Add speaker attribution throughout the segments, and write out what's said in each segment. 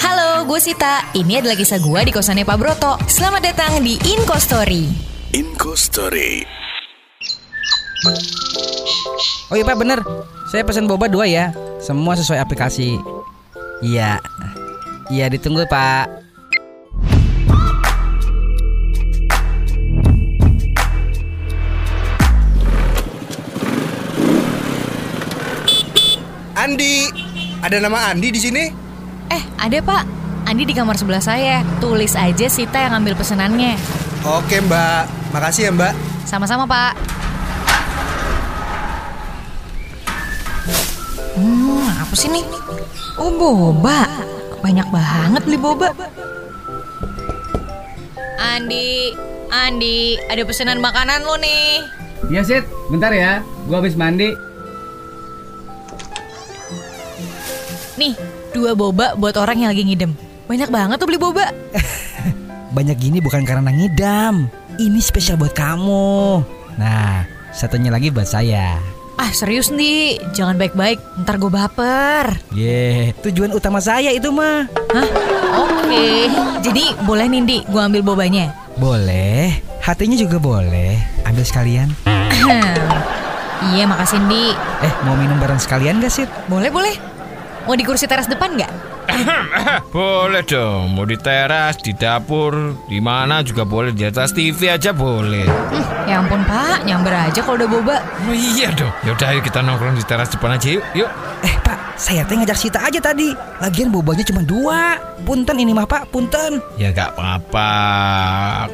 Speaker 1: Halo, gue Sita. Ini adalah kisah gue di kosannya Pak Broto. Selamat datang di Inko Story.
Speaker 2: Inco Story.
Speaker 3: Oh iya Pak bener Saya pesan boba dua ya Semua sesuai aplikasi Iya Iya ditunggu Pak
Speaker 4: Andi, ada nama Andi di sini?
Speaker 1: Eh, ada Pak. Andi di kamar sebelah saya. Tulis aja Sita yang ambil pesenannya.
Speaker 4: Oke Mbak, makasih ya Mbak.
Speaker 1: Sama-sama Pak. Hmm, apa sih nih? Oh, boba. Banyak banget beli boba. Andi, Andi, ada pesanan makanan lo nih.
Speaker 3: Iya Sid Bentar ya Gue habis mandi
Speaker 1: Nih, dua boba buat orang yang lagi ngidem. Banyak banget tuh beli boba.
Speaker 3: Banyak gini bukan karena ngidam Ini spesial buat kamu Nah Satunya lagi buat saya
Speaker 1: Ah serius nih, jangan baik-baik, ntar gue baper.
Speaker 3: Ye, Tujuan utama saya itu mah
Speaker 1: Hah? Oke. Jadi boleh nih Di, gue ambil bobanya.
Speaker 3: Boleh Hatinya juga boleh Ambil sekalian
Speaker 1: Hmm. iya makasih Di.
Speaker 3: Eh mau minum bareng sekalian gak Sid?
Speaker 1: Boleh boleh. Mau di kursi teras depan nggak?
Speaker 5: Boleh dong, mau di teras, di dapur, di mana juga boleh, di atas TV aja boleh.
Speaker 1: Hmm, ya ampun Pak, nyamber aja kalau udah boba.
Speaker 5: Oh, iya dong. Ya udah ayo kita nongkrong di teras depan aja yuk. Yuk.
Speaker 3: Eh Pak Saya teh ngajak Sita aja tadi Lagian bobanya cuma dua Punten ini mah Pak Punten
Speaker 5: Ya nggak apa-apa.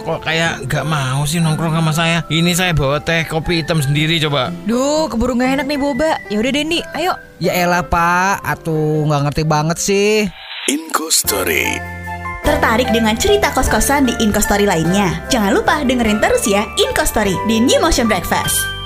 Speaker 5: Kok kayak nggak mau sih nongkrong sama saya? Ini saya bawa teh kopi hitam sendiri coba.
Speaker 1: Duh, keburu nggak enak nih boba. Ya udah Dendi, ayo.
Speaker 3: Ya elah pak, atuh nggak ngerti banget sih.
Speaker 2: Inco Story.
Speaker 6: Tertarik dengan cerita kos-kosan di Inkostory lainnya? Jangan lupa dengerin terus ya Inkostory di New Motion Breakfast.